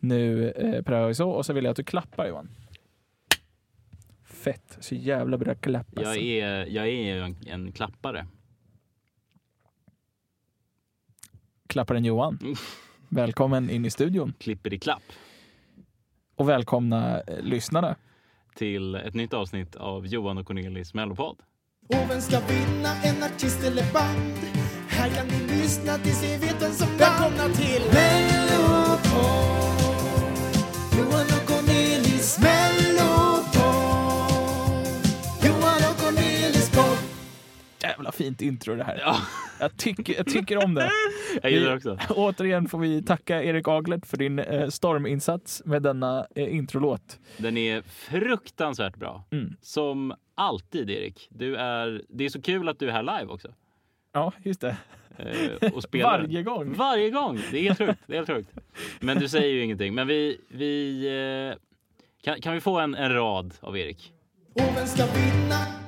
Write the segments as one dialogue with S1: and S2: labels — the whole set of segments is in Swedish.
S1: nu eh, prövar vi så och så vill jag att du klappar Johan. Fett, så jävla bra klapp alltså.
S2: Jag är, jag är ju en, en klappare.
S1: Klapparen Johan.
S2: Mm.
S1: Välkommen in i studion
S2: Klipper i klapp
S1: och välkomna eh, lyssnarna.
S2: till ett nytt avsnitt av Johan och Cornelis Mellopod.
S3: Oven ska vinna en artist eller band Här kan ni lyssna tills ni vet vem som vann Välkomna till Mellopod Johan och Cornelis Mellopod Johan och Cornelis podd
S1: Jävla fint intro det här.
S2: Ja,
S1: Jag, tycker, jag tycker om det.
S2: jag gillar det också.
S1: Återigen får vi tacka Erik Aglert för din eh, storminsats med denna eh, introlåt.
S2: Den är fruktansvärt bra.
S1: Mm.
S2: Som alltid, Erik. Du är, det är så kul att du är här live också.
S1: Ja, just det.
S2: eh, Och spelar. den.
S1: Varje gång.
S2: Varje gång! Det är helt sjukt. Det är helt sjukt. Men du säger ju ingenting. Men vi... vi eh, kan, kan vi få en, en rad av Erik?
S3: Oven ska vinna
S2: Ja.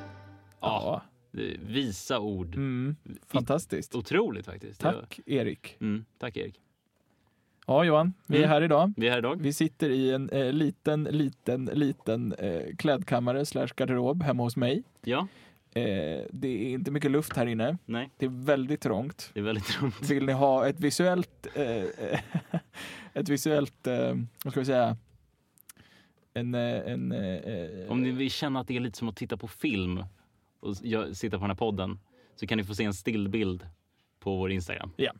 S1: Ja,
S2: det- Visa ord.
S1: mm, fantastiskt.
S2: Otroligt faktiskt.
S1: Tack Erik.
S2: Ja. Mm, tack Erik.
S1: Ja, Johan, vi är
S2: Mm.
S1: här idag.
S2: Vi är här idag.
S1: Vi sitter i en eh, liten, liten, liten eh, klädkammare slash garderob hemma hos mig.
S2: Ja,
S1: Eh, det är inte mycket luft här inne.
S2: nej,
S1: Det är väldigt trångt.
S2: det är väldigt trångt.
S1: Vill ni ha ett visuellt, eh, ett visuellt, eh, vad ska vi säga, en, eh, en, eh,
S2: Om ni vill känna att det är lite som att titta på film och s- gö- sitta på den här podden så kan ni få se en stillbild på vår Instagram.
S1: Ja.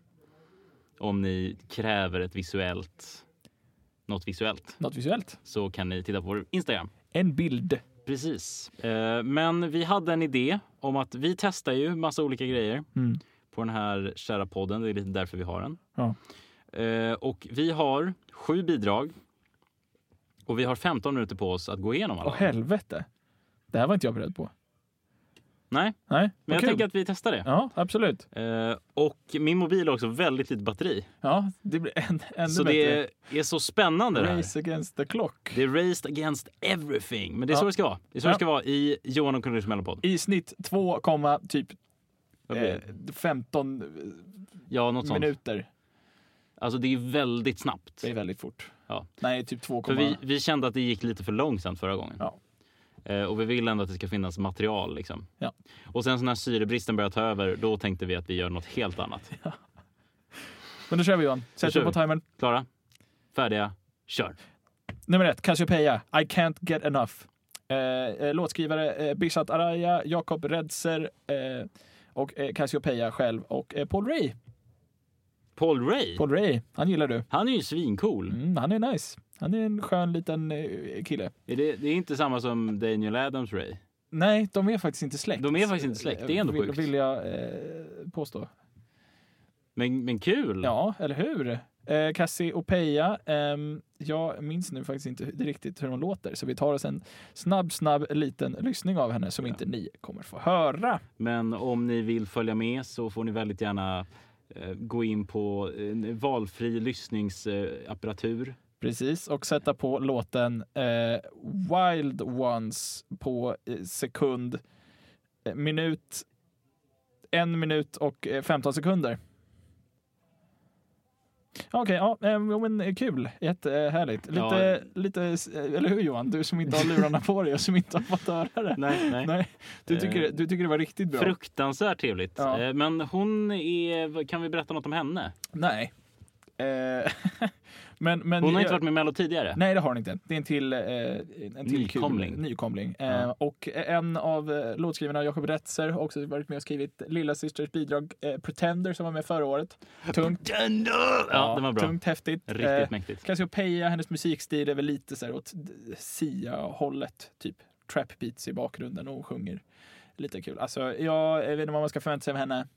S2: Om ni kräver ett visuellt, något visuellt
S1: något visuellt.
S2: så kan ni titta på vår Instagram.
S1: En bild.
S2: Precis. Eh, Men vi hade en idé om att vi testar ju massa olika grejer
S1: Mm.
S2: på den här kära podden. Det är lite därför vi har den.
S1: Ja.
S2: Eh, Och vi har sju bidrag och vi har 15 minuter på oss att gå igenom alla.
S1: Åh helvete. Det här var inte jag beredd på.
S2: Nej,
S1: Nej,
S2: men jag tänker att vi testar det.
S1: Ja, absolut.
S2: Eh, och min mobil har också väldigt lite batteri.
S1: Ja, det blir än, ännu
S2: så
S1: bättre.
S2: det är, är så spännande det här.
S1: Race against the clock.
S2: Det är raced against everything. Men det är
S1: Ja.
S2: så det ska vara. Det är så
S1: Ja.
S2: det ska vara i Johan och Cornelis mellanpodd.
S1: I snitt 2, komma typ
S2: Vad blir
S1: eh,
S2: det?
S1: 15
S2: Ja, något sånt.
S1: minuter.
S2: Alltså det är väldigt snabbt.
S1: Det är väldigt fort.
S2: Ja.
S1: Nej, typ 2,
S2: För vi, vi kände att det gick lite för långsamt förra gången.
S1: Ja.
S2: Eh, och vi vill ändå att det ska finnas material. Liksom.
S1: Ja.
S2: Och sen så när syrebristen började ta över, då tänkte vi att vi gör något helt annat.
S1: Men då kör vi Johan.
S2: Då
S1: Sätt
S2: kör
S1: dig på
S2: vi.
S1: timern.
S2: Klara? Färdiga? Kör!
S1: Nummer ett, Cassiopeia, I can't get enough. Eh, eh, låtskrivare eh, Bishat Araya, Jakob Redser eh, och eh, Cassiopeia själv och eh, Paul Ray.
S2: Paul Ray?
S1: Paul Ray, han gillar du.
S2: Han är ju svincool.
S1: Mm, han är nice. Han är en skön liten eh, kille.
S2: Är det, det är inte samma som Daniel Adams Ray.
S1: Nej, de är faktiskt inte släkt.
S2: De är faktiskt inte släkt, det är ändå
S1: vill,
S2: sjukt.
S1: vill jag eh, påstå.
S2: Men, men kul!
S1: Ja, eller hur? Eh, Cassie Opeia. ehm, jag minns nu faktiskt inte hur- riktigt hur hon låter, så vi tar oss en snabb, snabb liten lyssning av henne som
S2: Ja.
S1: inte ni kommer få höra.
S2: Men om ni vill följa med så får ni väldigt gärna eh, gå in på eh, en valfri lyssningsapparatur.
S1: Precis, och sätta på låten eh, Wild Ones på eh, sekund, eh, minut, en minut och eh, 15 sekunder. Ja, Okej, ja, eh, jo, men eh, kul. Jättehärligt. Lite,
S2: Ja.
S1: lite, s- eh, eller hur Johan? Du som inte har lurarna på dig och som inte har fått höra det.
S2: Nej, nej.
S1: Nej, du, tycker,
S2: Eh,
S1: du tycker det var riktigt bra?
S2: Fruktansvärt trevligt.
S1: Ja.
S2: Eh, Men hon är... Kan vi berätta något om henne?
S1: Nej. Eh, men, men, eh,
S2: Hon har inte
S1: jag-
S2: varit med i Mello tidigare.
S1: Nej, det har den inte. Det är en till, eh, en till
S2: Nykomling.
S1: Kul, nykomling. Eh,
S2: Ja.
S1: och en av eh, låtskrivarna, Jakob Retzer, har också varit med och skrivit Lilla Systers bidrag eh, Pretender som var med förra året. Tungt,
S2: Den då! Ja, den var bra.
S1: tungt häftigt.
S2: Riktigt
S1: Eh,
S2: mäktigt.
S1: Cassiopeia, hennes musikstil är väl lite så här åt d- Sia-hållet, typ. Trap beats i bakgrunden och hon sjunger. Lite kul. Alltså, jag, jag vet inte vad man ska förvänta sig av henne.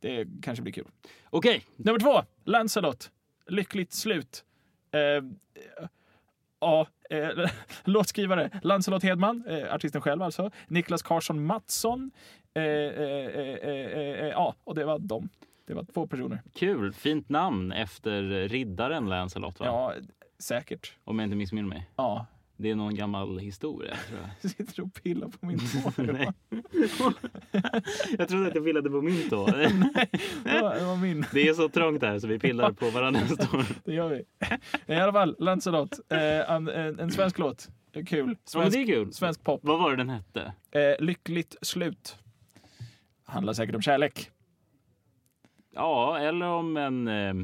S1: Det kanske blir kul.
S2: Okej,
S1: Nummer två, Lancelot. Lyckligt slut. Eh, eh, Ja, eh, låtskrivare Lancelot Hedman, eh, artisten själv alltså. Niklas Karlsson Mattsson. Eh, eh, eh, eh, eh, ja, och det var dem. Det var två personer.
S2: kul. Fint namn efter riddaren Lancelot, va?
S1: Ja, säkert.
S2: Om jag inte missminner mig.
S1: Ja,
S2: Det är någon gammal historia, tror jag.
S1: Sitter och pillar på min tår.
S2: Nej. jag trodde att jag pillade på min tå.
S1: Det var, det var min.
S2: Det är så trångt här så vi pillar på varandras tår.
S1: Det gör vi. Eh, I alla fall, Lancelot. Eh, en, en, en svensk låt. Kul.
S2: Ja, men
S1: Svensk,
S2: det är kul.
S1: svensk pop.
S2: Vad var det den hette?
S1: Eh, lyckligt slut. Handlar säkert om kärlek.
S2: Ja, eller om en eh,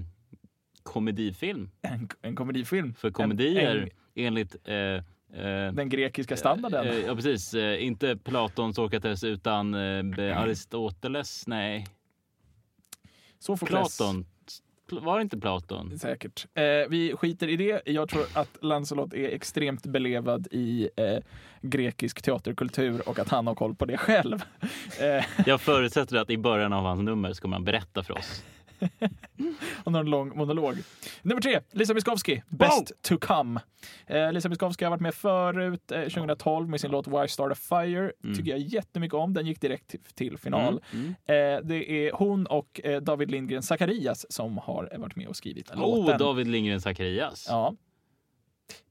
S2: komedifilm.
S1: En, en komedifilm.
S2: För komedier,
S1: En- en-
S2: enligt... Eh, eh,
S1: Den grekiska standarden.
S2: eh, ja, precis. Eh, inte Platon, Sokrates, utan eh, be- Aristoteles. Nej,
S1: Sofokles.
S2: Platon. Pl- Var det inte Platon?
S1: Säkert. Eh, vi skiter i det. Jag tror att Lancelot är extremt belevad i eh, grekisk teaterkultur och att han har koll på det själv. Eh,
S2: Jag förutsätter att i början av hans nummer så kommer han berätta för oss.
S1: han har en lång monolog. Nummer tre, Lisa Miskovsky, Best to come. Eh, Lisa Miskovsky har varit med förut, eh, 2012 med sin låt Why Start a Fire.
S2: Mm.
S1: Tycker jag jättemycket om. Den gick direkt till, till final. Eh, det är hon och eh, David Lindgren Zacharias som har eh, varit med och skrivit
S2: Oh,
S1: låten.
S2: David Lindgren Zacharias.
S1: Ja.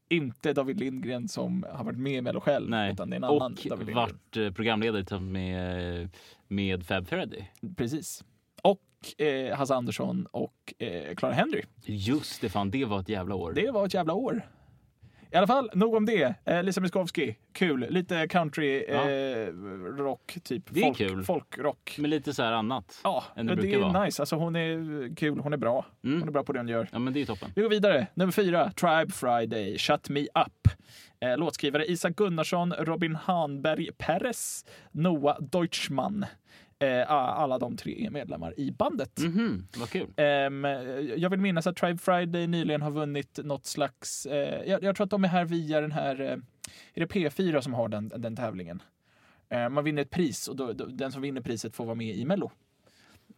S1: Inte David Lindgren som har varit med i Mello själv,
S2: Nej.
S1: utan det är en annan David
S2: Och
S1: Lindgren.
S2: vart eh, programledare tillsammans med, eh, med Fab Freddy.
S1: Precis. Och eh, Hasse Andersson och eh, Clara Henry.
S2: Just det, fan det var ett jävla år.
S1: Det var ett jävla år. I alla fall, nog om det. Eh, Lisa Miskovsky, kul. Lite country,
S2: Ja.
S1: eh, rock, typ.
S2: Det är
S1: folk,
S2: kul.
S1: Folkrock.
S2: Men lite så här annat.
S1: Ja,
S2: än det
S1: det,
S2: brukar
S1: är
S2: vara.
S1: nice. Alltså, hon är kul, hon är bra.
S2: Mm.
S1: Hon är bra på det hon gör.
S2: Ja, men det är ju toppen.
S1: Vi går vidare. Nummer fyra, Tribe Friday, Shut Me Up. Eh, låtskrivare Isak Gunnarsson, Robin Hanberg Perez, Noah Deutschman. Eh, alla de tre är medlemmar i bandet.
S2: Mhm, vad kul.
S1: Ehm, jag vill minnas att Tribe Friday nyligen har vunnit något slags... Eh, jag, jag tror att de är här via den här... Eh, är det P4 som har den, den tävlingen? Eh, man vinner ett pris och då, då, den som vinner priset får vara med i Mello.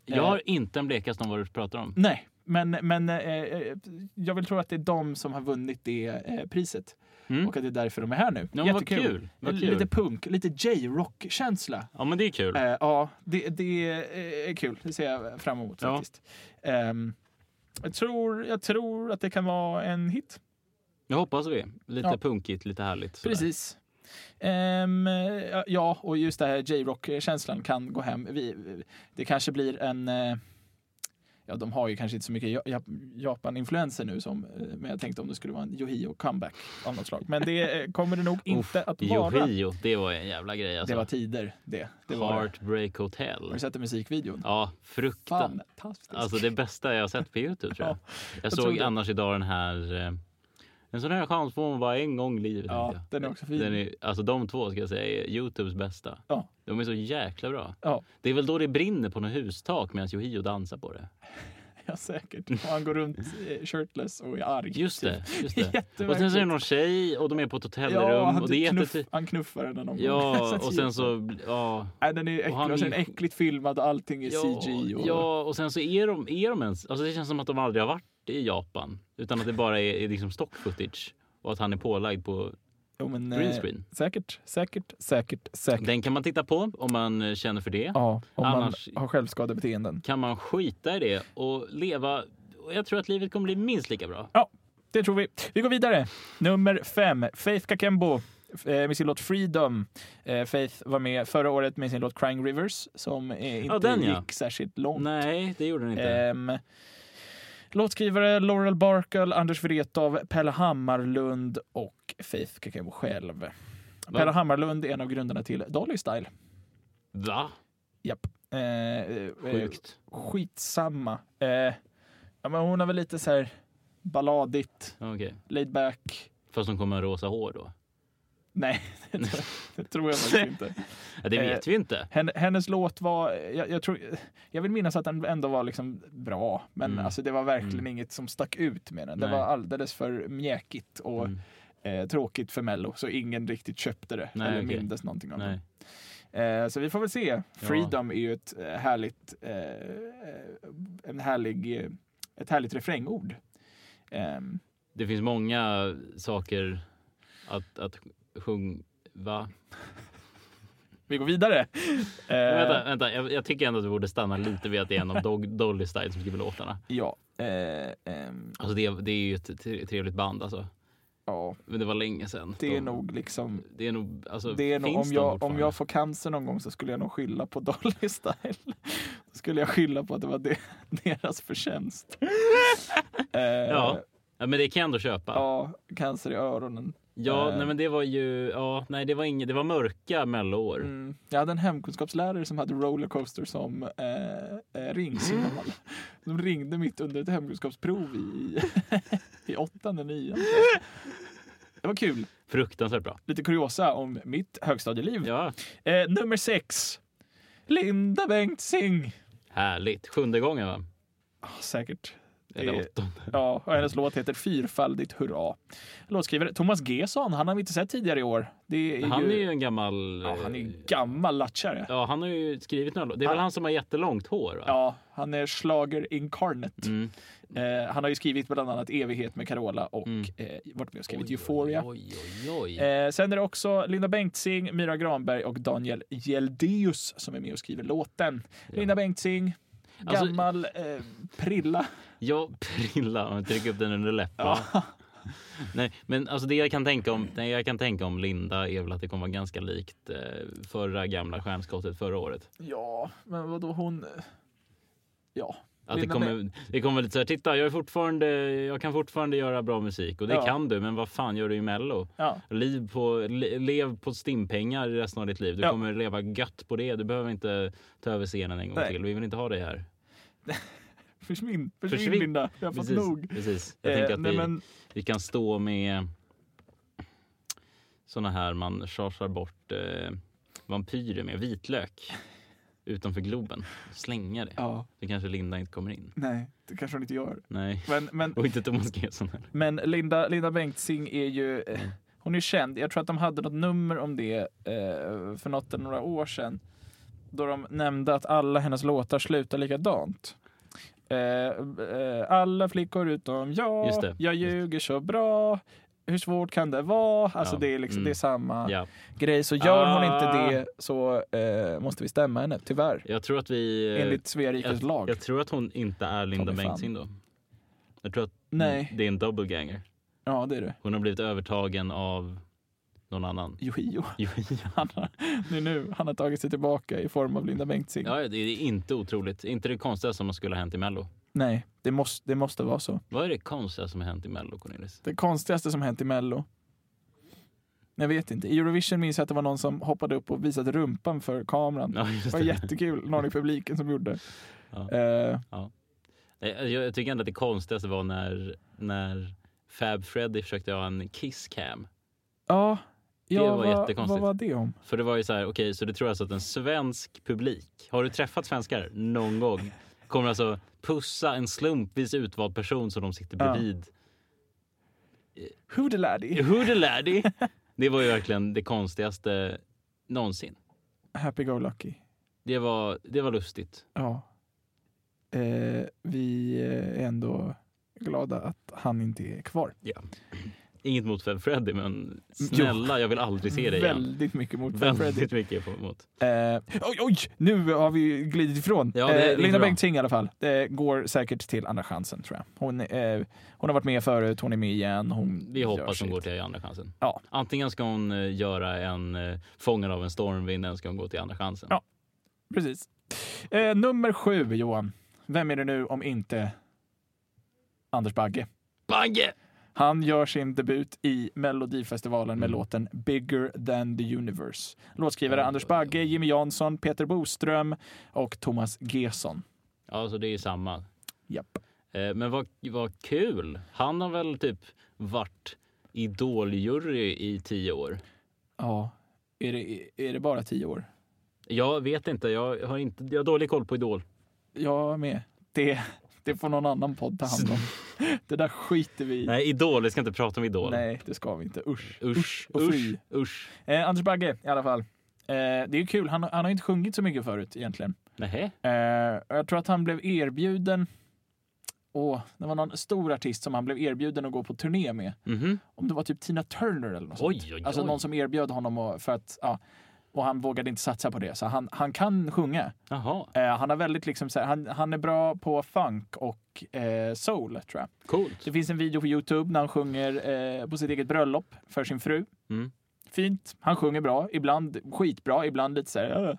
S1: Eh,
S2: Jag har inte en blekaste om vad du pratar om.
S1: Nej, men, men eh, eh, jag vill tro att det är de som har vunnit det eh, priset.
S2: Mm.
S1: Och att det är därför de är här nu.
S2: Ja, men vad kul. Vad kul.
S1: Lite punk, lite J-rock-känsla.
S2: Ja, men det är kul.
S1: Eh, ja, det, det eh, är kul. Det ser jag fram emot
S2: Ja.
S1: faktiskt. Ehm, jag, tror, jag tror att det kan vara en hit.
S2: Jag hoppas vi. Lite
S1: Ja.
S2: punkigt, lite härligt. sådär.
S1: Precis. Ehm, eh, ja, och just det här J-rock-känslan kan gå hem. Vi, det kanske blir en... eh, Ja, de har ju kanske inte så mycket Ja- Ja- Japan-influenser nu, som, eh, men jag tänkte om det skulle vara en Yohio-comeback av något slag. Men det eh, kommer det nog inte att vara.
S2: Yohio, alltså. det var en jävla grej alltså.
S1: Det var tider, det. det var, det.
S2: Heartbreak
S1: har
S2: Hotel.
S1: du sett den musikvideon?
S2: Ja, fruktan.
S1: Fantastisk.
S2: Alltså det bästa jag har sett på Youtube tror jag. Jag
S1: tror
S2: såg
S1: det.
S2: annars idag den här... eh, En sån här chans får man bara en gång i livet.
S1: ja,
S2: tänkte jag.
S1: den är också fin.
S2: Den är, alltså de två ska jag säga är Youtubes bästa.
S1: Ja.
S2: De är så jäkla bra.
S1: Ja,
S2: Det är väl då det brinner på något hustak medan Yohio dansar på det.
S1: ja, säkert. Och han går runt eh, shirtless och är arg.
S2: Just det. Just det.
S1: Jättemärkligt.
S2: och sen så är det någon tjej och de är på ett hotellrum.
S1: Ja, han, typ
S2: och det är
S1: knuff, Alltså,
S2: jättetid-
S1: han knuffar henne någon gång.
S2: Ja,
S1: att
S2: och sen så... Ja.
S1: Nej, den är äcklig.
S2: Och han
S1: Och sen
S2: är-
S1: äckligt filmad och allting är
S2: Ja,
S1: CG. Och...
S2: ja, och sen så är de, är de ens... Alltså det känns som att de aldrig har varit i Japan. Utan att det bara är, är liksom stock footage. Och att han är pålagd på...
S1: Jo, men, eh,
S2: Green screen.
S1: Säkert, säkert, säkert, säkert.
S2: Den kan man titta på om man eh, känner för det.
S1: Ja, om
S2: Annars-
S1: man har självskadebeteenden.
S2: Kan man skita i det och leva... Och jag tror att livet kommer bli minst lika bra.
S1: Ja, det tror vi. Vi går vidare. Nummer fem, Faith Kakembo eh, med sin låt Freedom. Eh, Faith var med förra året med sin låt Crying Rivers som eh, inte
S2: den,
S1: gick
S2: ja.
S1: särskilt långt.
S2: Nej, det gjorde den inte.
S1: Ehm, låtskrivare Laurel Barkle, Anders Wretow, Pelle Hammarlund och Faith Kakembo själv. Pelle Hammarlund är en av grundarna till Dolly Style.
S2: Va?
S1: Japp. Eh, eh,
S2: Sjukt.
S1: skitsamma. Eh, ja, men hon har väl lite så här balladigt,
S2: Okej.
S1: laid back.
S2: Fast hon kommer ha rosa hår då?
S1: Nej, det tror jag, det tror jag faktiskt inte.
S2: Ja, det
S1: Eh.
S2: vet vi inte.
S1: Hen- Hennes låt var, jag, jag, tror, jag vill minnas att den ändå var liksom bra, men
S2: Mm.
S1: alltså det var verkligen
S2: Mm.
S1: inget som stack ut med den. Det
S2: Nej.
S1: var alldeles för mjäkigt och
S2: Mm.
S1: eh, tråkigt för Mello, så ingen riktigt köpte det
S2: Nej,
S1: eller
S2: okej.
S1: mindes någonting av
S2: Nej.
S1: det. Eh, så vi får väl se. Freedom är ju ett eh, härligt, eh, en härlig, eh, ett härligt refrängord. Ehm,
S2: Det finns många saker att, att sjunga... Va?
S1: vi går vidare.
S2: Men
S1: Eh,
S2: Vänta, vänta. Jag, jag tycker ändå att du borde stanna lite vid att det är en av Dog, Dolly Style som skriver låtarna.
S1: Ja. Eh, ehm,
S2: Alltså det, det är ju ett tre- trevligt band alltså.
S1: Ja,
S2: Men det var länge sedan.
S1: det är
S2: De-
S1: nog liksom...
S2: Det är nog... Alltså,
S1: Det är nog,
S2: finns
S1: om,
S2: de
S1: jag, om
S2: fortfarande?
S1: jag får cancer någon gång så skulle jag nog skylla på Dolly Style. Då skulle jag skylla på att det var de, deras förtjänst. eh,
S2: Ja.
S1: ja.
S2: ja, men det kan jag ändå köpa.
S1: cancer i öronen.
S2: Ja,
S1: Eh.
S2: nej men det var ju, ja, nej det var inget, det var mörka melloår.
S1: Mm. Jag hade en hemkunskapslärare som hade rollercoaster som eh, eh,
S2: Mm.
S1: ringsignal. De ringde mitt under ett hemkunskapsprov i, i åttan eller nian. Det var kul.
S2: Fruktansvärt bra.
S1: Lite kuriosa om mitt högstadieliv.
S2: Ja,
S1: Eh, nummer sex. Linda Bengtzing.
S2: härligt. Sjunde gången va?
S1: Ah, säkert.
S2: Eller
S1: Eh,
S2: åttonde.
S1: Ja, och hennes låt heter Fyrfaldigt hurra. Låtskrivare Thomas Gesson, han har vi inte sett tidigare i år. Det är
S2: Han
S1: ju,
S2: är ju en gammal...
S1: ja, han är
S2: eh,
S1: ju gammal lattjare.
S2: Ja, han har ju skrivit några låtar. Det är väl
S1: Han-
S2: han som har jättelångt hår? Va?
S1: Ja, han är slager incarnate.
S2: Mm.
S1: Eh, han har ju skrivit bland annat Evighet med Carola och
S2: Mm.
S1: eh, varit med och skrivit
S2: Oj,
S1: Euphoria.
S2: Oj, oj, oj.
S1: Eh, sen är det också Linda Bengtzing, Myra Granberg och Daniel Jeldeus som är med och skriver låten. Linda Bengtzing,
S2: Alltså-
S1: gammal eh, prilla.
S2: Ja, prilla om jag trycker upp den under läppen. Nej, men alltså det jag kan tänka om, det jag kan tänka om Linda är väl att det kommer vara ganska likt eh, förra gamla stjärnskottet förra året.
S1: Ja, men vadå hon... eh, Ja.
S2: Att det
S1: Linda
S2: kommer, det kommer lite så här, titta jag, är fortfarande, jag kan fortfarande göra bra musik och det
S1: Ja.
S2: kan du, men vad fan gör du i Mello?
S1: ja.
S2: Liv på, le, lev på stimpengar resten av ditt liv. Du
S1: Ja.
S2: kommer leva gött på det. Du behöver inte ta över scenen en gång
S1: Nej.
S2: till. Vi vill inte ha dig här.
S1: Försvinn, försvinn,
S2: Försvinn.
S1: Linda. Jag har fått
S2: Precis.
S1: nog.
S2: Precis. Jag tänker
S1: Eh,
S2: att
S1: nej,
S2: vi,
S1: men,
S2: vi kan stå med såna här man chargear bort eh, vampyrer med vitlök utanför Globen. Slänga det.
S1: ja,
S2: Så kanske Linda inte kommer in.
S1: nej, det kanske hon inte gör.
S2: Nej.
S1: Men, men,
S2: Och inte Thomas Gesson heller.
S1: men Linda, Linda Bengtzing är ju... eh, Hon är känd. Jag tror att de hade något nummer om det eh, för något eller några år sedan. Då de nämnde att alla hennes låtar slutar likadant. Eh, eh, alla flickor utom jag,
S2: Just det,
S1: jag
S2: just det.
S1: ljuger så bra. Hur svårt kan det vara? Alltså
S2: Ja,
S1: det, är liksom,
S2: mm.
S1: det är samma
S2: Ja.
S1: grej. Så gör hon
S2: Ah.
S1: inte det så eh, måste vi stämma henne, tyvärr.
S2: Jag tror att vi... eh,
S1: Enligt Svea rikes
S2: jag,
S1: lag.
S2: jag tror att hon inte är Linda
S1: Tommy fan.
S2: Bengtzing då. Jag tror att
S1: Nej,
S2: det är en doubleganger.
S1: ja det är det.
S2: Hon har blivit övertagen av någon annan.
S1: Yohio.
S2: Jo,
S1: Han har, nu, nu, han har tagit sig tillbaka i form av Linda Bengtzing.
S2: Ja, det är inte otroligt. Inte det konstigaste som skulle ha hänt i Mello.
S1: Nej, det måste, det måste vara så.
S2: Vad är det konstigaste som har hänt i Mello, Cornelis?
S1: Det konstigaste som hänt i Mello? Jag vet inte. I Eurovision minns jag att det var någon som hoppade upp och visade rumpan för kameran.
S2: Ja, just
S1: Det var
S2: det.
S1: jättekul. Någon i publiken som gjorde.
S2: Ja.
S1: Eh,
S2: Nej, Jag, jag tycker ändå att det konstigaste var när, när Fab Freddy försökte ha en kisscam.
S1: ja, ja
S2: var
S1: vad-
S2: jättekonstigt.
S1: Vad var det om?
S2: För det var ju så här, okej, så det tror alltså att en svensk publik, har du träffat svenskar någon gång, kommer alltså pussa en slumpvis utvald person som de sitter
S1: Ja.
S2: bredvid.
S1: Who the laddie?
S2: Hoodaladi! Det var ju verkligen det konstigaste någonsin.
S1: Happy go lucky.
S2: Det var, det var lustigt.
S1: Ja. Eh, vi är ändå glada att han inte är kvar.
S2: Inget mot Fab Freddy, men snälla, jag vill aldrig se dig igen.
S1: Väldigt mycket mot Fred Freddy.
S2: Väldigt mycket emot.
S1: Eh, oj, oj! Nu har vi ju glidit ifrån.
S2: Ja, det- det är
S1: eh, Linda
S2: bra.
S1: Bengtzing i alla fall. Det går säkert till Andra chansen, tror jag. Hon, eh, hon har varit med förut, hon är med igen. Hon
S2: Mm, Vi
S1: gör
S2: hoppas hon
S1: sitt.
S2: går till Andra chansen.
S1: Ja.
S2: Antingen ska hon eh, göra en eh, Fångad av en stormvind, eller ska hon gå till Andra chansen.
S1: Ja. Precis. Eh, nummer sju, Johan. Vem är det nu om inte Anders Bagge?
S2: Bagge!
S1: Han gör sin debut i Melodifestivalen med
S2: Mm.
S1: låten Bigger than the universe. Låtskrivare
S2: Oj,
S1: Anders
S2: oj, oj.
S1: Bagge, Jimmy Jansson, Peter Boström och Thomas Gesson.
S2: Ja, så det är ju samma.
S1: Japp.
S2: Eh, Men vad, vad kul! Han har väl typ varit idoljury i tio år.
S1: Ja, är det, är det bara tio år?
S2: Jag vet inte, jag har, inte, jag har dålig koll på Idol.
S1: Jag med. Det, det får någon annan podd ta hand om. Det där skiter vi i.
S2: Nej, Idol, vi ska inte prata om Idol.
S1: Nej, det ska vi inte. Usch.
S2: Usch,
S1: och fy.
S2: usch, usch.
S1: Eh, Anders Bagge i alla fall. Eh, det är kul, han, han har inte sjungit så mycket förut egentligen.
S2: Nähä?
S1: Eh, och jag tror att han blev erbjuden Åh, det var någon stor artist som han blev erbjuden att gå på turné med.
S2: Mhm.
S1: Om det var typ Tina Turner eller något
S2: Oj,
S1: sånt.
S2: oj, oj.
S1: Alltså någon som erbjöd honom att, för att ja, och han vågade inte satsa på det. Så han, han kan sjunga.
S2: Jaha,
S1: Eh, han, har väldigt liksom, så här, han, han är bra på funk och eh, soul, tror jag.
S2: coolt.
S1: Det finns en video på Youtube när han sjunger eh, på sitt eget bröllop för sin fru.
S2: Mm.
S1: Fint. Han sjunger bra. Ibland skitbra, ibland lite så här... "Åh."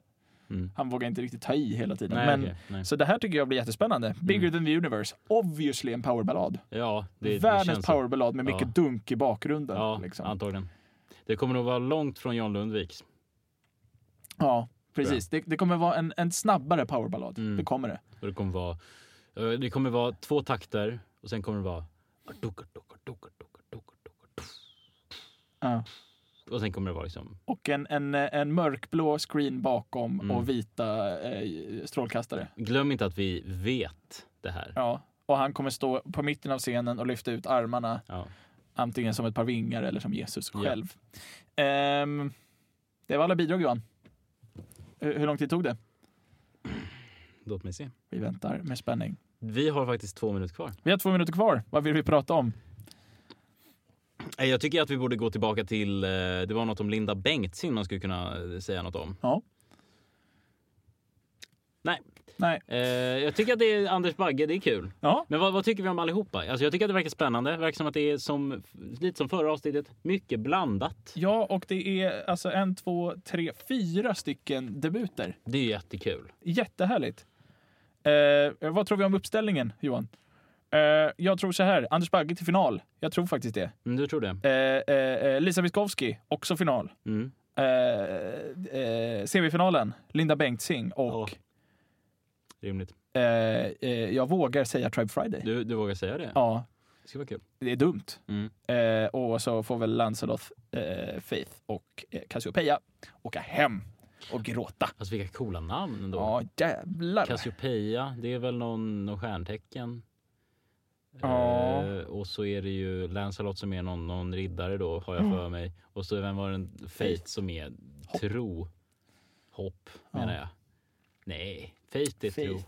S2: Mm.
S1: Han vågar inte riktigt ta i hela tiden.
S2: Nej,
S1: Men,
S2: okej, nej.
S1: Så det här tycker jag blir jättespännande. Bigger than the universe. Obviously en powerballad.
S2: Ja, det, det
S1: Världens
S2: känns så.
S1: powerballad med
S2: Ja.
S1: mycket dunk i bakgrunden.
S2: Ja,
S1: liksom.
S2: antagligen. Det kommer nog vara långt från John Lundviks.
S1: Ja, precis. Det, det kommer vara en, en snabbare powerballad.
S2: Mm.
S1: Det kommer det.
S2: Och det kommer vara, eh, det kommer vara två takter och sen kommer det vara
S1: Ja.
S2: och sen kommer det vara liksom
S1: Och en, en, en mörkblå screen bakom
S2: Mm.
S1: och vita eh, strålkastare.
S2: Glöm inte att vi vet det här.
S1: Ja. Och han kommer stå på mitten av scenen och lyfta ut armarna.
S2: Ja.
S1: Antingen som ett par vingar eller som Jesus
S2: Ja.
S1: själv. Ehm, det var alla bidrag, Johan. Hur, hur lång tid tog det?
S2: Låt mig se.
S1: Vi väntar med spänning.
S2: Vi har faktiskt två minuter kvar.
S1: Vi har två minuter kvar. Vad vill vi prata om?
S2: Eh, Jag tycker att vi borde gå tillbaka till, eh, det var något om Linda Bengtzing man skulle kunna eh, säga något om.
S1: Ja.
S2: Nej,
S1: Nej.
S2: eh, jag tycker att det är Anders Bagge, det är kul.
S1: Ja,
S2: Men vad, vad tycker vi om allihopa? Alltså jag tycker att det verkar spännande. Det verkar som att det är som, lite som förra avsnittet, mycket blandat.
S1: ja och det är alltså en, två, tre, fyra stycken debuter.
S2: Det är ju jättekul.
S1: Jättehärligt. Eh, vad tror vi om uppställningen, Johan? Eh, jag tror så här. Anders Bagge till final. Jag tror faktiskt det.
S2: Mm, du tror det?
S1: Eh, eh, eh, Lisa Miskovsky, också final.
S2: Mm.
S1: Eh, eh, semifinalen, Linda Bengtzing och
S2: Rimligt.
S1: eh, eh, jag vågar säga Tribe Friday.
S2: Du, du vågar säga det?
S1: Ja,
S2: Det ska vara kul.
S1: det är dumt.
S2: Mm.
S1: Eh, och så får väl Lancelot, eh, Faith och eh, Cassiopeia åka hem och gråta.
S2: Alltså vilka coola namn ändå.
S1: Ja, jävlar.
S2: Cassiopeia, det är väl någon, någon stjärntecken.
S1: Ja.
S2: Eh, och så är det ju Lancelot som är någon, någon riddare då, har
S1: Mm.
S2: jag för mig. Och så vem var den? Fate som är tro. Hopp, menar jag. Nej, Fate är
S1: Faith.
S2: tro.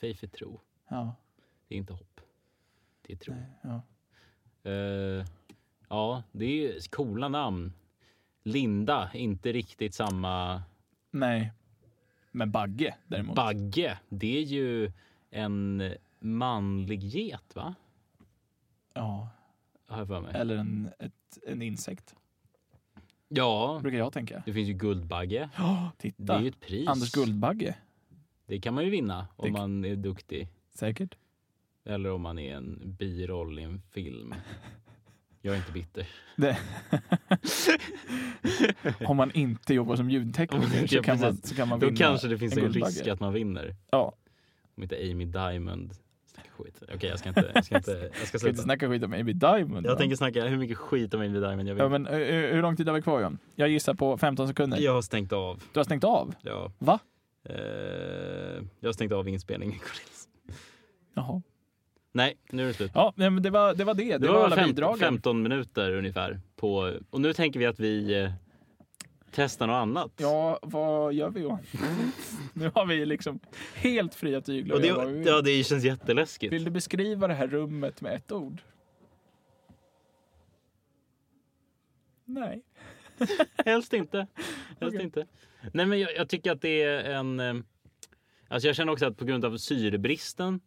S2: Faith är tro.
S1: Ja,
S2: Det är inte hopp. Det är tro.
S1: ja.
S2: Eh, ja, det är ju coola namn. Linda, inte riktigt samma.
S1: Nej. Men Bagge däremot.
S2: Bagge, det är ju en manlig get, va?
S1: ja,
S2: Har jag för mig.
S1: eller en, ett, en insekt,
S2: Ja,
S1: brukar jag tänka.
S2: det finns ju Guldbagge.
S1: Ja,
S2: Det
S1: titta.
S2: är ju ett pris.
S1: Anders Guldbagge.
S2: Det kan man ju vinna om
S1: Det-
S2: man är duktig.
S1: Säkert.
S2: Eller om man är en biroll i en film. Jag är inte bitter.
S1: Det. Om man inte jobbar som
S2: Om man
S1: ljudtekniker
S2: inte-
S1: så kan man,
S2: precis.
S1: så kan man
S2: Då
S1: vinna
S2: kanske det finns en,
S1: Guldbagge.
S2: risk att man vinner.
S1: Ja,
S2: Om inte Amy Diamond snackar skit. Okej, jag ska inte... Jag ska, inte, jag ska
S1: ska inte
S2: sluta.
S1: snacka skit om Amy Diamond. va?
S2: Jag tänker snacka hur mycket skit om Amy Diamond jag vill.
S1: ja, men, eh, eh, hur lång tid har vi kvar John? Jag gissar på 15 sekunder.
S2: Jag har stängt av.
S1: Du har stängt av?
S2: Ja.
S1: Va?
S2: Eh, jag har stängt av inspelningen. Cornelis.
S1: Jaha.
S2: Nej, nu är det slut.
S1: Ja, nej, men det var det. Var det. det,
S2: Det
S1: var,
S2: var
S1: alla
S2: fem,
S1: bidragen.
S2: 15 minuter ungefär. På, och nu tänker vi att vi eh, testar något annat.
S1: Ja, vad gör vi Johan? nu har vi liksom helt fria tyglar.
S2: och
S1: att
S2: det,
S1: göra vad vi vill.
S2: ja, det känns jätteläskigt.
S1: Vill du beskriva det här rummet med ett ord? Nej.
S2: Helst inte. Helst
S1: Okej.
S2: inte. Nej, men jag, jag tycker att det är en... eh, Alltså jag känner också att på grund av syrebristen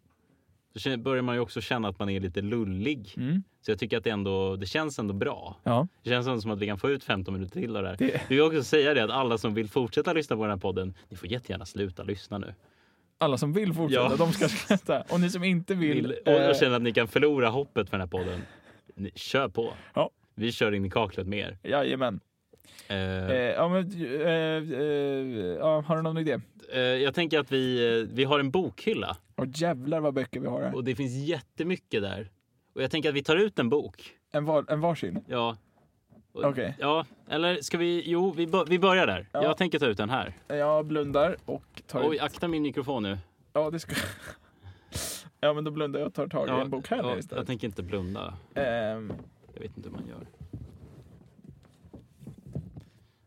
S2: så känner- börjar man ju också känna att man är lite lullig.
S1: Mm.
S2: Så jag tycker att det, ändå, det känns ändå bra.
S1: Ja.
S2: Det känns ändå som att vi kan få ut 15 minuter till av det här.
S1: Det-
S2: Vi vill också säga det att alla som vill fortsätta lyssna på den här podden, ni får jättegärna sluta lyssna nu.
S1: Alla som vill fortsätta,
S2: Ja.
S1: de ska skratta. Och ni som inte vill...
S2: Vill, och jag
S1: eh,
S2: känner att ni kan förlora hoppet för den här podden. Ni, kör på.
S1: Ja.
S2: Vi kör in i kaklet med er.
S1: Jajamän.
S2: Eh,
S1: Eh, ja, men, eh, eh, ja, har du någon idé?
S2: eh, jag tänker att vi, eh, vi har en bokhylla
S1: Och jävlar vad böcker vi har här.
S2: och det finns jättemycket där. Och jag tänker att vi tar ut en bok.
S1: En, var, en varsin.
S2: Ja. Och-
S1: Okej.
S2: Ja, eller ska vi? Jo, vi, bör, vi börjar där.
S1: Ja.
S2: Jag tänker ta ut den här.
S1: Jag blundar och tar...
S2: Oj, akta min mikrofon nu.
S1: Ja, det ska... Ja, men då blundar jag och tar tag i
S2: Ja,
S1: en bok här
S2: ja,
S1: istället.
S2: jag tänker inte blunda.
S1: Ehm,
S2: Jag vet inte hur man gör.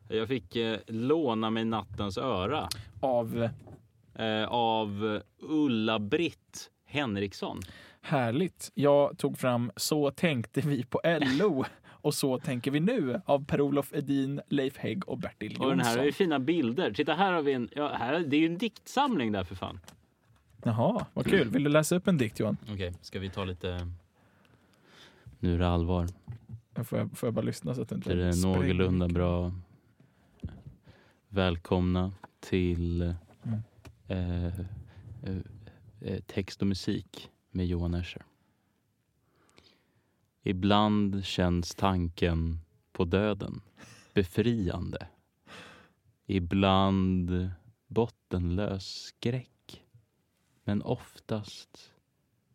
S2: Jag fick eh, låna mig nattens öra
S1: av...
S2: eh, av Ulla-Britt Henriksson.
S1: Härligt. Jag tog fram Så tänkte vi på LO och Så tänker vi nu av Per-Olof Edin, Leif Hägg och Bertil
S2: Och den här har
S1: Jonsson.
S2: ju fina bilder. Titta här har vi en, ja, här, det är ju en diktsamling där för fan.
S1: Jaha, vad kul. Vill du läsa upp en dikt Johan?
S2: Okej, ska vi ta lite... Nu är det allvar.
S1: Får jag, får jag bara lyssna så att det inte
S2: Det är
S1: spränger?
S2: någorlunda bra. Välkomna till
S1: Mm.
S2: eh, eh, eh, text och musik med Johan Escher. Ibland känns tanken på döden befriande. Ibland bottenlös skräck. Men oftast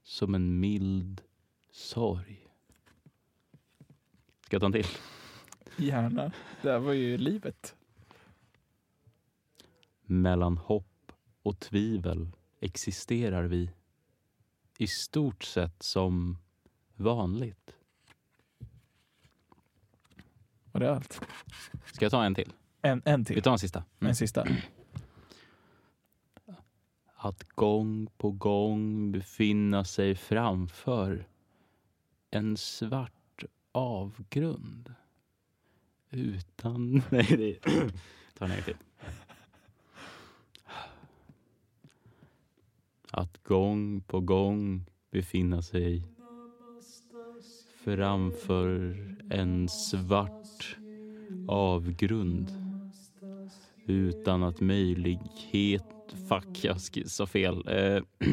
S2: som en mild sorg. Ska jag ta en till?
S1: Gärna. Det här var ju livet.
S2: Mellan hopp och tvivel existerar vi i stort sett som vanligt.
S1: Var det allt?
S2: Ska jag ta en till?
S1: En, en
S2: Vi
S1: till.
S2: tar en sista. Mm.
S1: En sista.
S2: Att gång på gång befinna sig framför en svart avgrund utan... Nej, det är... Ta en egen till. Att gång på gång befinna sig framför en svart avgrund utan att möjlighet... Fuck, jag sk- sa fel. Eh,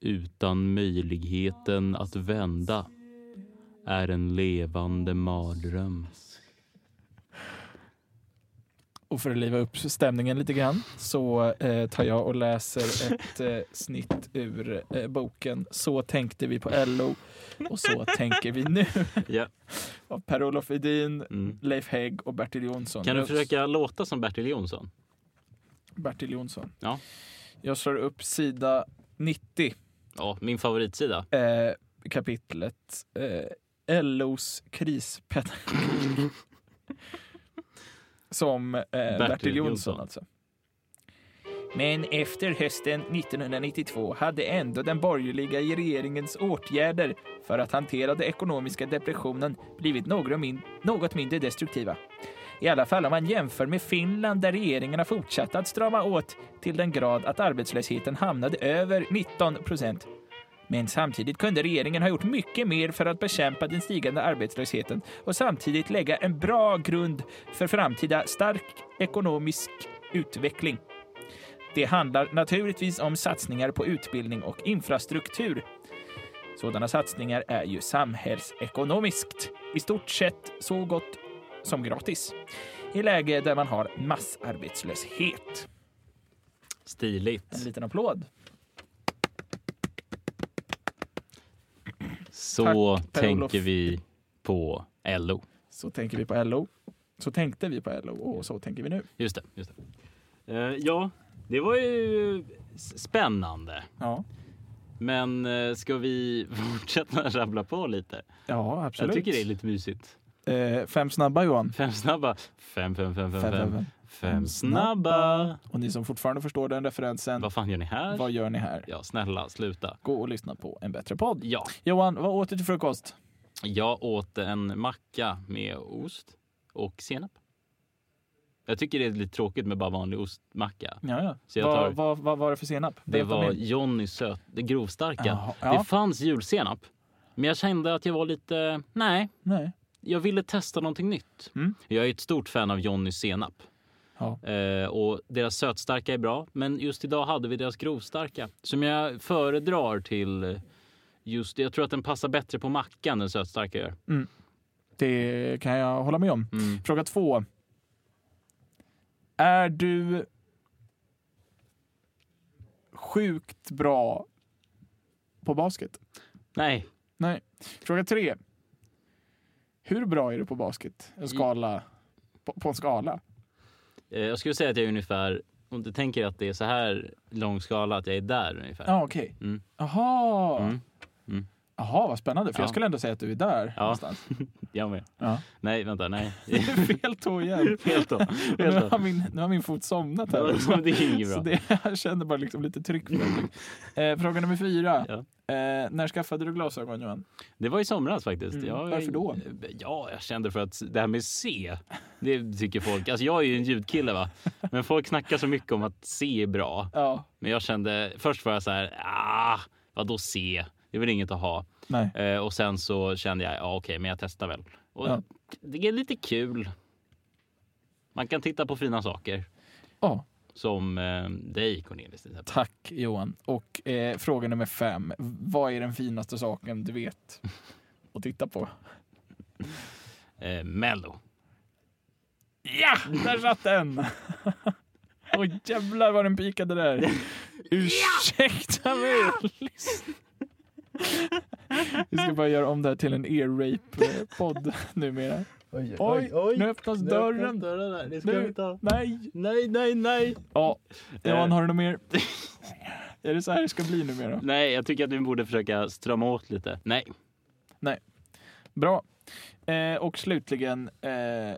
S2: utan möjligheten att vända är en levande mardröm.
S1: Och för att liva upp stämningen lite grann så eh, tar jag och läser ett eh, snitt ur eh, boken Så tänkte vi på LO och så tänker vi nu
S2: Ja.
S1: av Per-Olof Edin,
S2: Mm.
S1: Leif Hägg och Bertil Jonsson.
S2: Kan du
S1: Ups,
S2: försöka låta som Bertil Jonsson?
S1: Bertil Jonsson.
S2: Ja.
S1: Jag slår upp sida 90,
S2: Ja, min favoritsida.
S1: eh, kapitlet eh, LOs krispedagogik. Som eh, Bertil, Jonsson,
S2: Jonsson.
S1: alltså. Men efter hösten 1992 hade ändå den borgerliga regeringens åtgärder för att hantera den ekonomiska depressionen blivit några min- något mindre destruktiva. I alla fall om man jämför med Finland där regeringen har fortsatt att strama åt till den grad att arbetslösheten hamnade över 19 procent. Men samtidigt kunde regeringen ha gjort mycket mer för att bekämpa den stigande arbetslösheten och samtidigt lägga en bra grund för framtida stark ekonomisk utveckling. Det handlar naturligtvis om satsningar på utbildning och infrastruktur. Sådana satsningar är ju samhällsekonomiskt i stort sett så gott som gratis i läge där man har massarbetslöshet. En
S2: Stiligt.
S1: liten applåd.
S2: Så
S1: Tack, Per-Olof.
S2: tänker vi på LO.
S1: Så tänker vi på LO. Så tänkte vi på LO och så tänker vi nu.
S2: Just det. Just det. Eh, ja, det var ju s- spännande.
S1: Ja,
S2: Men eh, ska vi fortsätta rabbla på lite?
S1: ja absolut.
S2: Jag tycker det är lite mysigt.
S1: eh, fem snabba Johan.
S2: Fem snabba. Fem, fem, fem, fem,
S1: Fem, fem,
S2: fem.
S1: fem. Mm,
S2: Fem snabba.
S1: Och ni som fortfarande förstår den referensen,
S2: Vad fan gör ni här?
S1: vad gör ni här?
S2: Ja, snälla, sluta.
S1: Gå och lyssna på en bättre podd.
S2: Ja,
S1: Johan, vad åt du till frukost?
S2: jag åt en macka med ost och senap. Jag tycker det är lite tråkigt med bara vanlig ostmacka.
S1: Ja, ja.
S2: Så jag
S1: vad,
S2: tar-
S1: vad, vad var det för senap?
S2: Det
S1: Berätta
S2: var
S1: mer.
S2: Johnny söt, det grovstarka.
S1: Jaha, ja.
S2: Det fanns julsenap, men jag kände att jag var lite... Nej,
S1: Nej.
S2: jag ville testa någonting nytt.
S1: Mm.
S2: Jag är ett stort fan av Johnny senap.
S1: Ja.
S2: Eh, och deras sötstarka är bra, men just idag hade vi deras grovstarka som jag föredrar till just Jag tror att den passar bättre på mackan än sötstarka gör.
S1: Det kan jag hålla med om.
S2: Mm.
S1: Fråga två. Är du sjukt bra på basket?
S2: Nej,
S1: Nej. Fråga tre. Hur bra är du på basket? En skala, på, på en skala?
S2: eh, jag skulle säga att jag är ungefär, om du tänker att det är så här lång skala, att jag är där ungefär.
S1: Ja, okej.
S2: Mm.
S1: Jaha.
S2: Mm. Mm.
S1: Jaha, vad spännande. För
S2: Ja.
S1: jag skulle ändå säga att du är där
S2: Ja.
S1: någonstans.
S2: Jag med.
S1: Ja.
S2: Nej, vänta, nej.
S1: Fel tå igen.
S2: Helt då.
S1: Nu
S2: Helt
S1: har,
S2: då.
S1: min, nu har min fot somnat
S2: Det
S1: här. också.
S2: är inget
S1: Så
S2: bra.
S1: det, jag känner bara liksom lite tryck. För det. eh, fråga nummer fyra.
S2: Ja.
S1: Eh, när skaffade du glasögon Johan?
S2: Det var i somras faktiskt.
S1: Mm,
S2: Jag,
S1: varför då?
S2: Ja, jag kände för att det här med C, det tycker folk. Alltså jag är ju en ljudkille va, men folk snackar så mycket om att C är bra.
S1: Ja,
S2: Men jag kände, först var jag så här, ah, vadå C? Det är väl inget att ha.
S1: nej.
S2: Eh, och sen så kände jag, ja okej, men jag testar väl. Och
S1: Ja.
S2: det är lite kul. Man kan titta på fina saker.
S1: Ja.
S2: Som eh, dig Cornelis till exempel.
S1: Tack Johan. Och eh, fråga nummer fem. Vad är den finaste saken du vet att titta på?
S2: Eh, Mello.
S1: Ja, där satt den! Åh jävlar vad den pikade där. Ursäkta mig! Vi ska bara göra om det här till en ear-rape-podd numera.
S2: Oj,
S1: Oj, nu öppnas dörren.
S2: Det
S1: ska vi
S2: inte ha.
S1: Nej!
S2: Nej, nej, nej.
S1: Ja, Johan har du något mer? Är det så här det ska bli numera?
S2: Nej, jag tycker att vi borde försöka strama åt lite. Nej.
S1: Bra. Eh, och slutligen, eh, eh,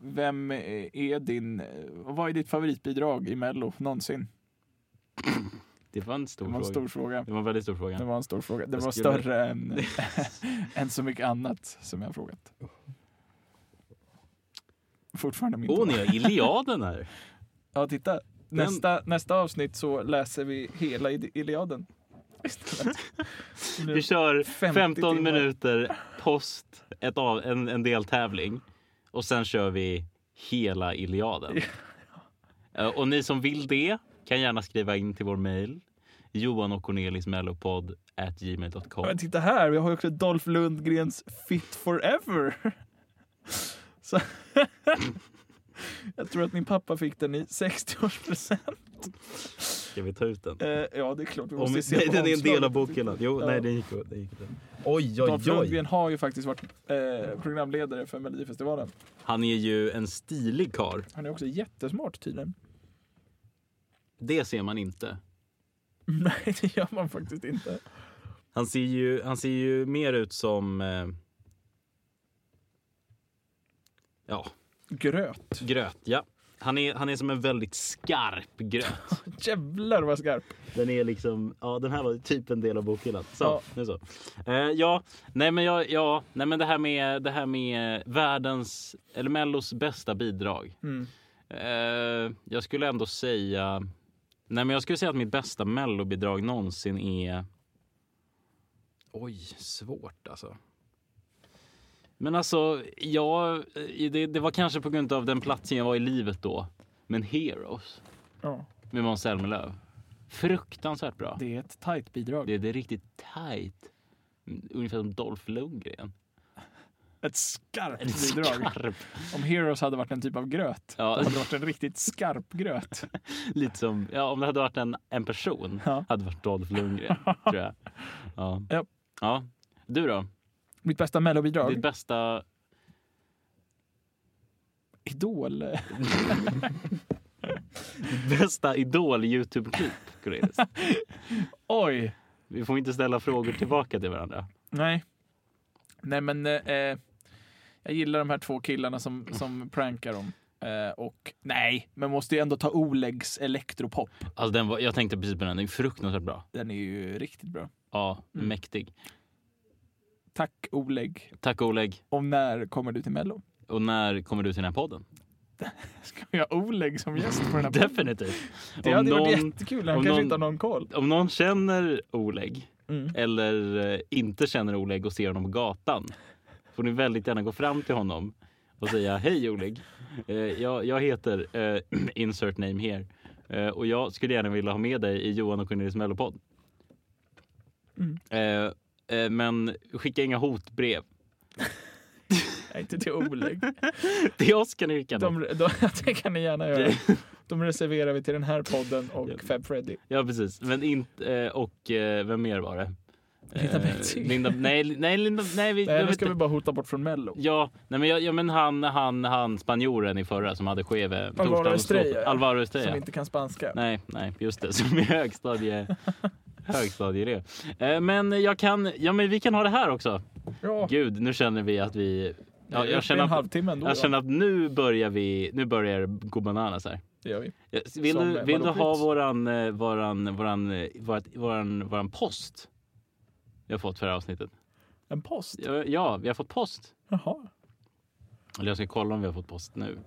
S1: vem är din, eh, vad är ditt favoritbidrag i Mello någonsin?
S2: Det var en stor
S1: Det var en
S2: fråga.
S1: stor fråga.
S2: Det var en väldigt stor
S1: Det
S2: fråga.
S1: var en stor fråga. Det
S2: Jag
S1: var
S2: skulle-
S1: större än, än så mycket annat som jag har frågat. Fortfarande min
S2: Åh,
S1: tur.
S2: ni har Iliaden här.
S1: Ja, titta. Nästa, nästa avsnitt så läser vi hela I- Iliaden.
S2: Vi kör
S1: 50
S2: 15
S1: timmar.
S2: minuter post ett av, en, en deltävling och sen kör vi hela Iliaden. Eh, Och ni som vill det kan gärna skriva in till vår mejl. Johan och Cornelis mellopodd at gmail.com.
S1: Men titta här, vi har ju också Dolph Lundgrens Fit Forever. Så jag tror att min pappa fick den i 60-årspresent.
S2: Ska vi ta ut den?
S1: Eh, ja, det är klart. Vi
S2: Om,
S1: måste ju se
S2: nej,
S1: på
S2: den är en del av
S1: omslaget.
S2: bokhyllan. Jo,
S1: Ja.
S2: nej, den gick åt. Den gick åt. Oj,
S1: Dolph Lundgren har ju faktiskt varit eh, programledare för Melodifestivalen.
S2: Han är ju en stilig karl.
S1: Han är också jättesmart tydligen.
S2: Det ser man inte.
S1: Nej, det gör man faktiskt inte.
S2: Han ser ju, han ser ju mer ut som... Eh, ja,
S1: Gröt.
S2: gröt. Ja. Han, är, han är som en väldigt skarp gröt.
S1: Jävlar vad skarp.
S2: Den är liksom... Ja, den här var typ en del av bokhyllan. Så,
S1: Ja.
S2: nu så. Eh, ja, nej men, jag, ja, nej men det här med, det här med världens... Eller Mellos bästa bidrag.
S1: Mm.
S2: Eh, jag skulle ändå säga... Nej, men jag skulle säga att mitt bästa mellobidrag någonsin är... Oj, svårt alltså. Men alltså, jag, eh, det, det var kanske på grund av den platsen jag var i livet då. Men Heroes
S1: Ja,
S2: med Måns Zelmerlöw. Fruktansvärt bra.
S1: det är ett tajt bidrag.
S2: Det, det är riktigt tight. Mm, Ungefär som Dolph Lundgren.
S1: Ett skarpt
S2: Eller
S1: bidrag.
S2: skarp.
S1: Om Heroes hade varit en typ av gröt,
S2: Ja.
S1: då hade det varit en riktigt skarp gröt.
S2: Lite som, ja, om det hade varit en, en person
S1: Ja.
S2: hade det varit Dolph Lundgren. tror jag. Ja.
S1: Ja.
S2: Ja. Du då?
S1: Mitt bästa mellobidrag?
S2: Ditt bästa...
S1: Idol?
S2: Bästa Idol-Youtube-klipp, Cornelis.
S1: Oj!
S2: Vi får inte ställa frågor tillbaka till varandra.
S1: Nej. Nej men, eh, eh, jag gillar de här två killarna som, som prankar dem. Eh, och nej, men måste ju ändå ta Olegs elektropop.
S2: Alltså den var, jag tänkte precis på den, den är fruktansvärt bra.
S1: Den är ju riktigt bra.
S2: Ja,
S1: Mm.
S2: mäktig.
S1: Tack Oleg.
S2: Tack Oleg.
S1: Och när kommer du till Mello?
S2: Och när kommer du till den här podden?
S1: Ska vi ha Oleg som gäst på den här podden?
S2: Definitivt.
S1: Det
S2: om,
S1: hade varit
S2: någon,
S1: jättekul. Han
S2: om
S1: kanske
S2: någon-
S1: inte har någon koll.
S2: om någon känner Oleg
S1: Mm.
S2: eller eh, inte känner Oleg och ser honom på gatan får ni väldigt gärna gå fram till honom och säga hej Oleg. Eh, jag, jag heter eh, insert name here eh, och jag skulle gärna vilja ha med dig i Johan och Cornelis Mellopodd.
S1: Mm.
S2: Eh, eh, men skicka inga hotbrev.
S1: Nej, inte till Oleg.
S2: Till oss kan ni skicka dem.
S1: De, de, det kan ni gärna göra. De reserverar vi till den här podden
S2: Ja.
S1: och Fab Freddy.
S2: Ja precis. Men inte, eh, och eh, vem mer var det?
S1: Linda
S2: Eh,
S1: Bengtzing.
S2: Linda, nej, nej, Linda, nej, vi,
S1: Nej,
S2: jag
S1: nu
S2: vet
S1: ska vi bara hota bort från Mello.
S2: Ja, nej men, jag, ja, men han, han, han spanjoren i förra som hade skeve. torsdagen-
S1: Estrella, ja.
S2: Alvaro
S1: Som
S2: Estrella.
S1: inte kan spanska.
S2: Nej, nej, just det. Som är högstadie, högstadieelev. Eh, men jag kan, ja men vi kan ha det här också.
S1: Ja,
S2: Gud, nu känner vi att vi... Ja,
S1: det är
S2: jag, känner
S1: en
S2: att,
S1: halvtimme ändå.
S2: jag känner att nu börjar vi... Nu börjar det gå bananas här.
S1: Det gör vi.
S2: Ja, Vill
S1: Som
S2: du, vill du ha
S1: Manoplex.
S2: våran, eh, våran, våran, eh, vårat, våran, våran post? Vi har fått för det här avsnittet.
S1: En post?
S2: Ja, Ja, vi har fått post.
S1: Jaha.
S2: Eller jag ska kolla om vi har fått post nu.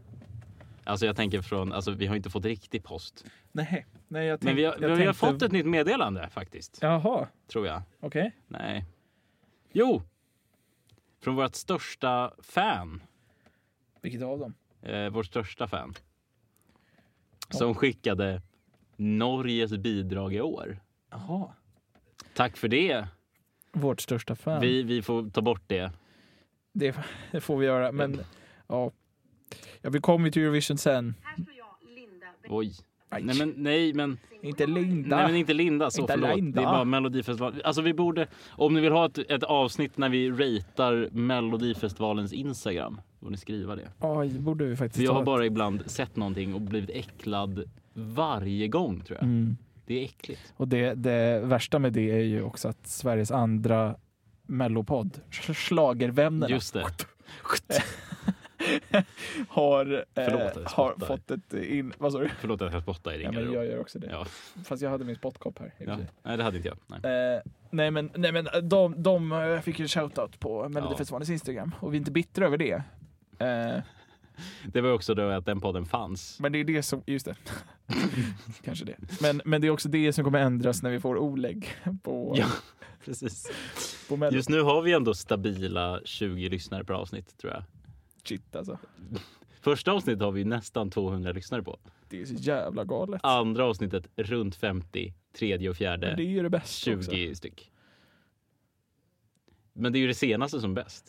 S2: Alltså jag tänker från, alltså vi har inte fått riktig post.
S1: Nej, nej jag tänkte...
S2: Men vi har,
S1: jag
S2: vi
S1: tänkte-
S2: har fått ett nytt meddelande faktiskt,
S1: Jaha,
S2: tror jag.
S1: okej.
S2: Nej. Jo! Från vårt största fan.
S1: Vilket av dem?
S2: Eh, vårt största fan.
S1: Ja.
S2: Som skickade Norges bidrag i år.
S1: Jaha.
S2: Tack för det.
S1: Vårt största fan.
S2: Vi, vi får ta bort det.
S1: Det, det får vi göra, men ja. ja vi kommer ju till Eurovision sen.
S4: Här står jag, Linda
S2: Oj.
S1: Aj.
S2: Nej men, nej, men,
S1: Inte Linda.
S2: nej, men inte Linda. Så
S1: Inte
S2: förlåt.
S1: Linda.
S2: Det är bara Melodifestivalen. Alltså vi borde, om ni vill ha ett, ett avsnitt när vi ratear Melodifestivalens Instagram, borde ni skriva det.
S1: Oj, det borde vi faktiskt
S2: För jag
S1: ta
S2: har
S1: ett-
S2: bara ibland sett någonting och blivit äcklad varje gång tror jag.
S1: Mm.
S2: Det är äckligt.
S1: Och det, det värsta med det är ju också att Sveriges andra mellopodd, Schlagervännerna,
S2: Just det.
S1: har,
S2: Förlåt att
S1: eh,
S2: jag
S1: har
S2: spottar.
S1: fått ett in... Vad sa du?
S2: Förlåt att jag spottade i din
S1: Ja, men
S2: garderob.
S1: jag gör också det.
S2: Ja,
S1: Fast jag hade min spottkopp här. i och
S2: ja.
S1: för sig.
S2: Nej, det hade inte jag. Nej.
S1: Eh, nej men, nej, men de, de eh, fick ju en shoutout på Melodifestivalens Instagram och vi är inte bittra över det. Eh,
S2: Det var också då att den podden fanns.
S1: men det är det som, just det. Kanske det. Men, men det är också det som kommer ändras när vi får olägg på,
S2: Ja, precis.
S1: på Mello.
S2: Just nu har vi ändå stabila 20 lyssnare per avsnitt tror jag.
S1: Shit alltså.
S2: Första avsnittet har vi nästan 200 lyssnare på.
S1: Det är så jävla galet.
S2: Andra avsnittet runt 50. Tredje och
S1: Men det är
S2: fjärde
S1: ju det bästa
S2: 20
S1: också.
S2: styck. Men det är ju det senaste som bäst,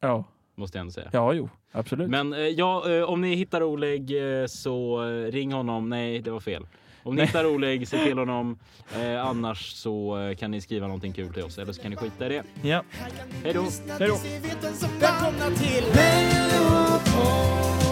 S1: Ja.
S2: måste jag ändå säga.
S1: ja, jo, absolut.
S2: Men eh, ja, eh, om ni hittar Oleg eh, så eh, ring honom. Nej, det var fel. Om ni hittar Oleg, se till honom. Eh, annars så eh, kan ni skriva någonting kul till oss, eller så kan ni skita i det.
S1: Ja.
S2: Hej då.
S3: Lyssna
S1: Hej då.
S3: tills vi vet vem som vann. Välkomna till Melopod.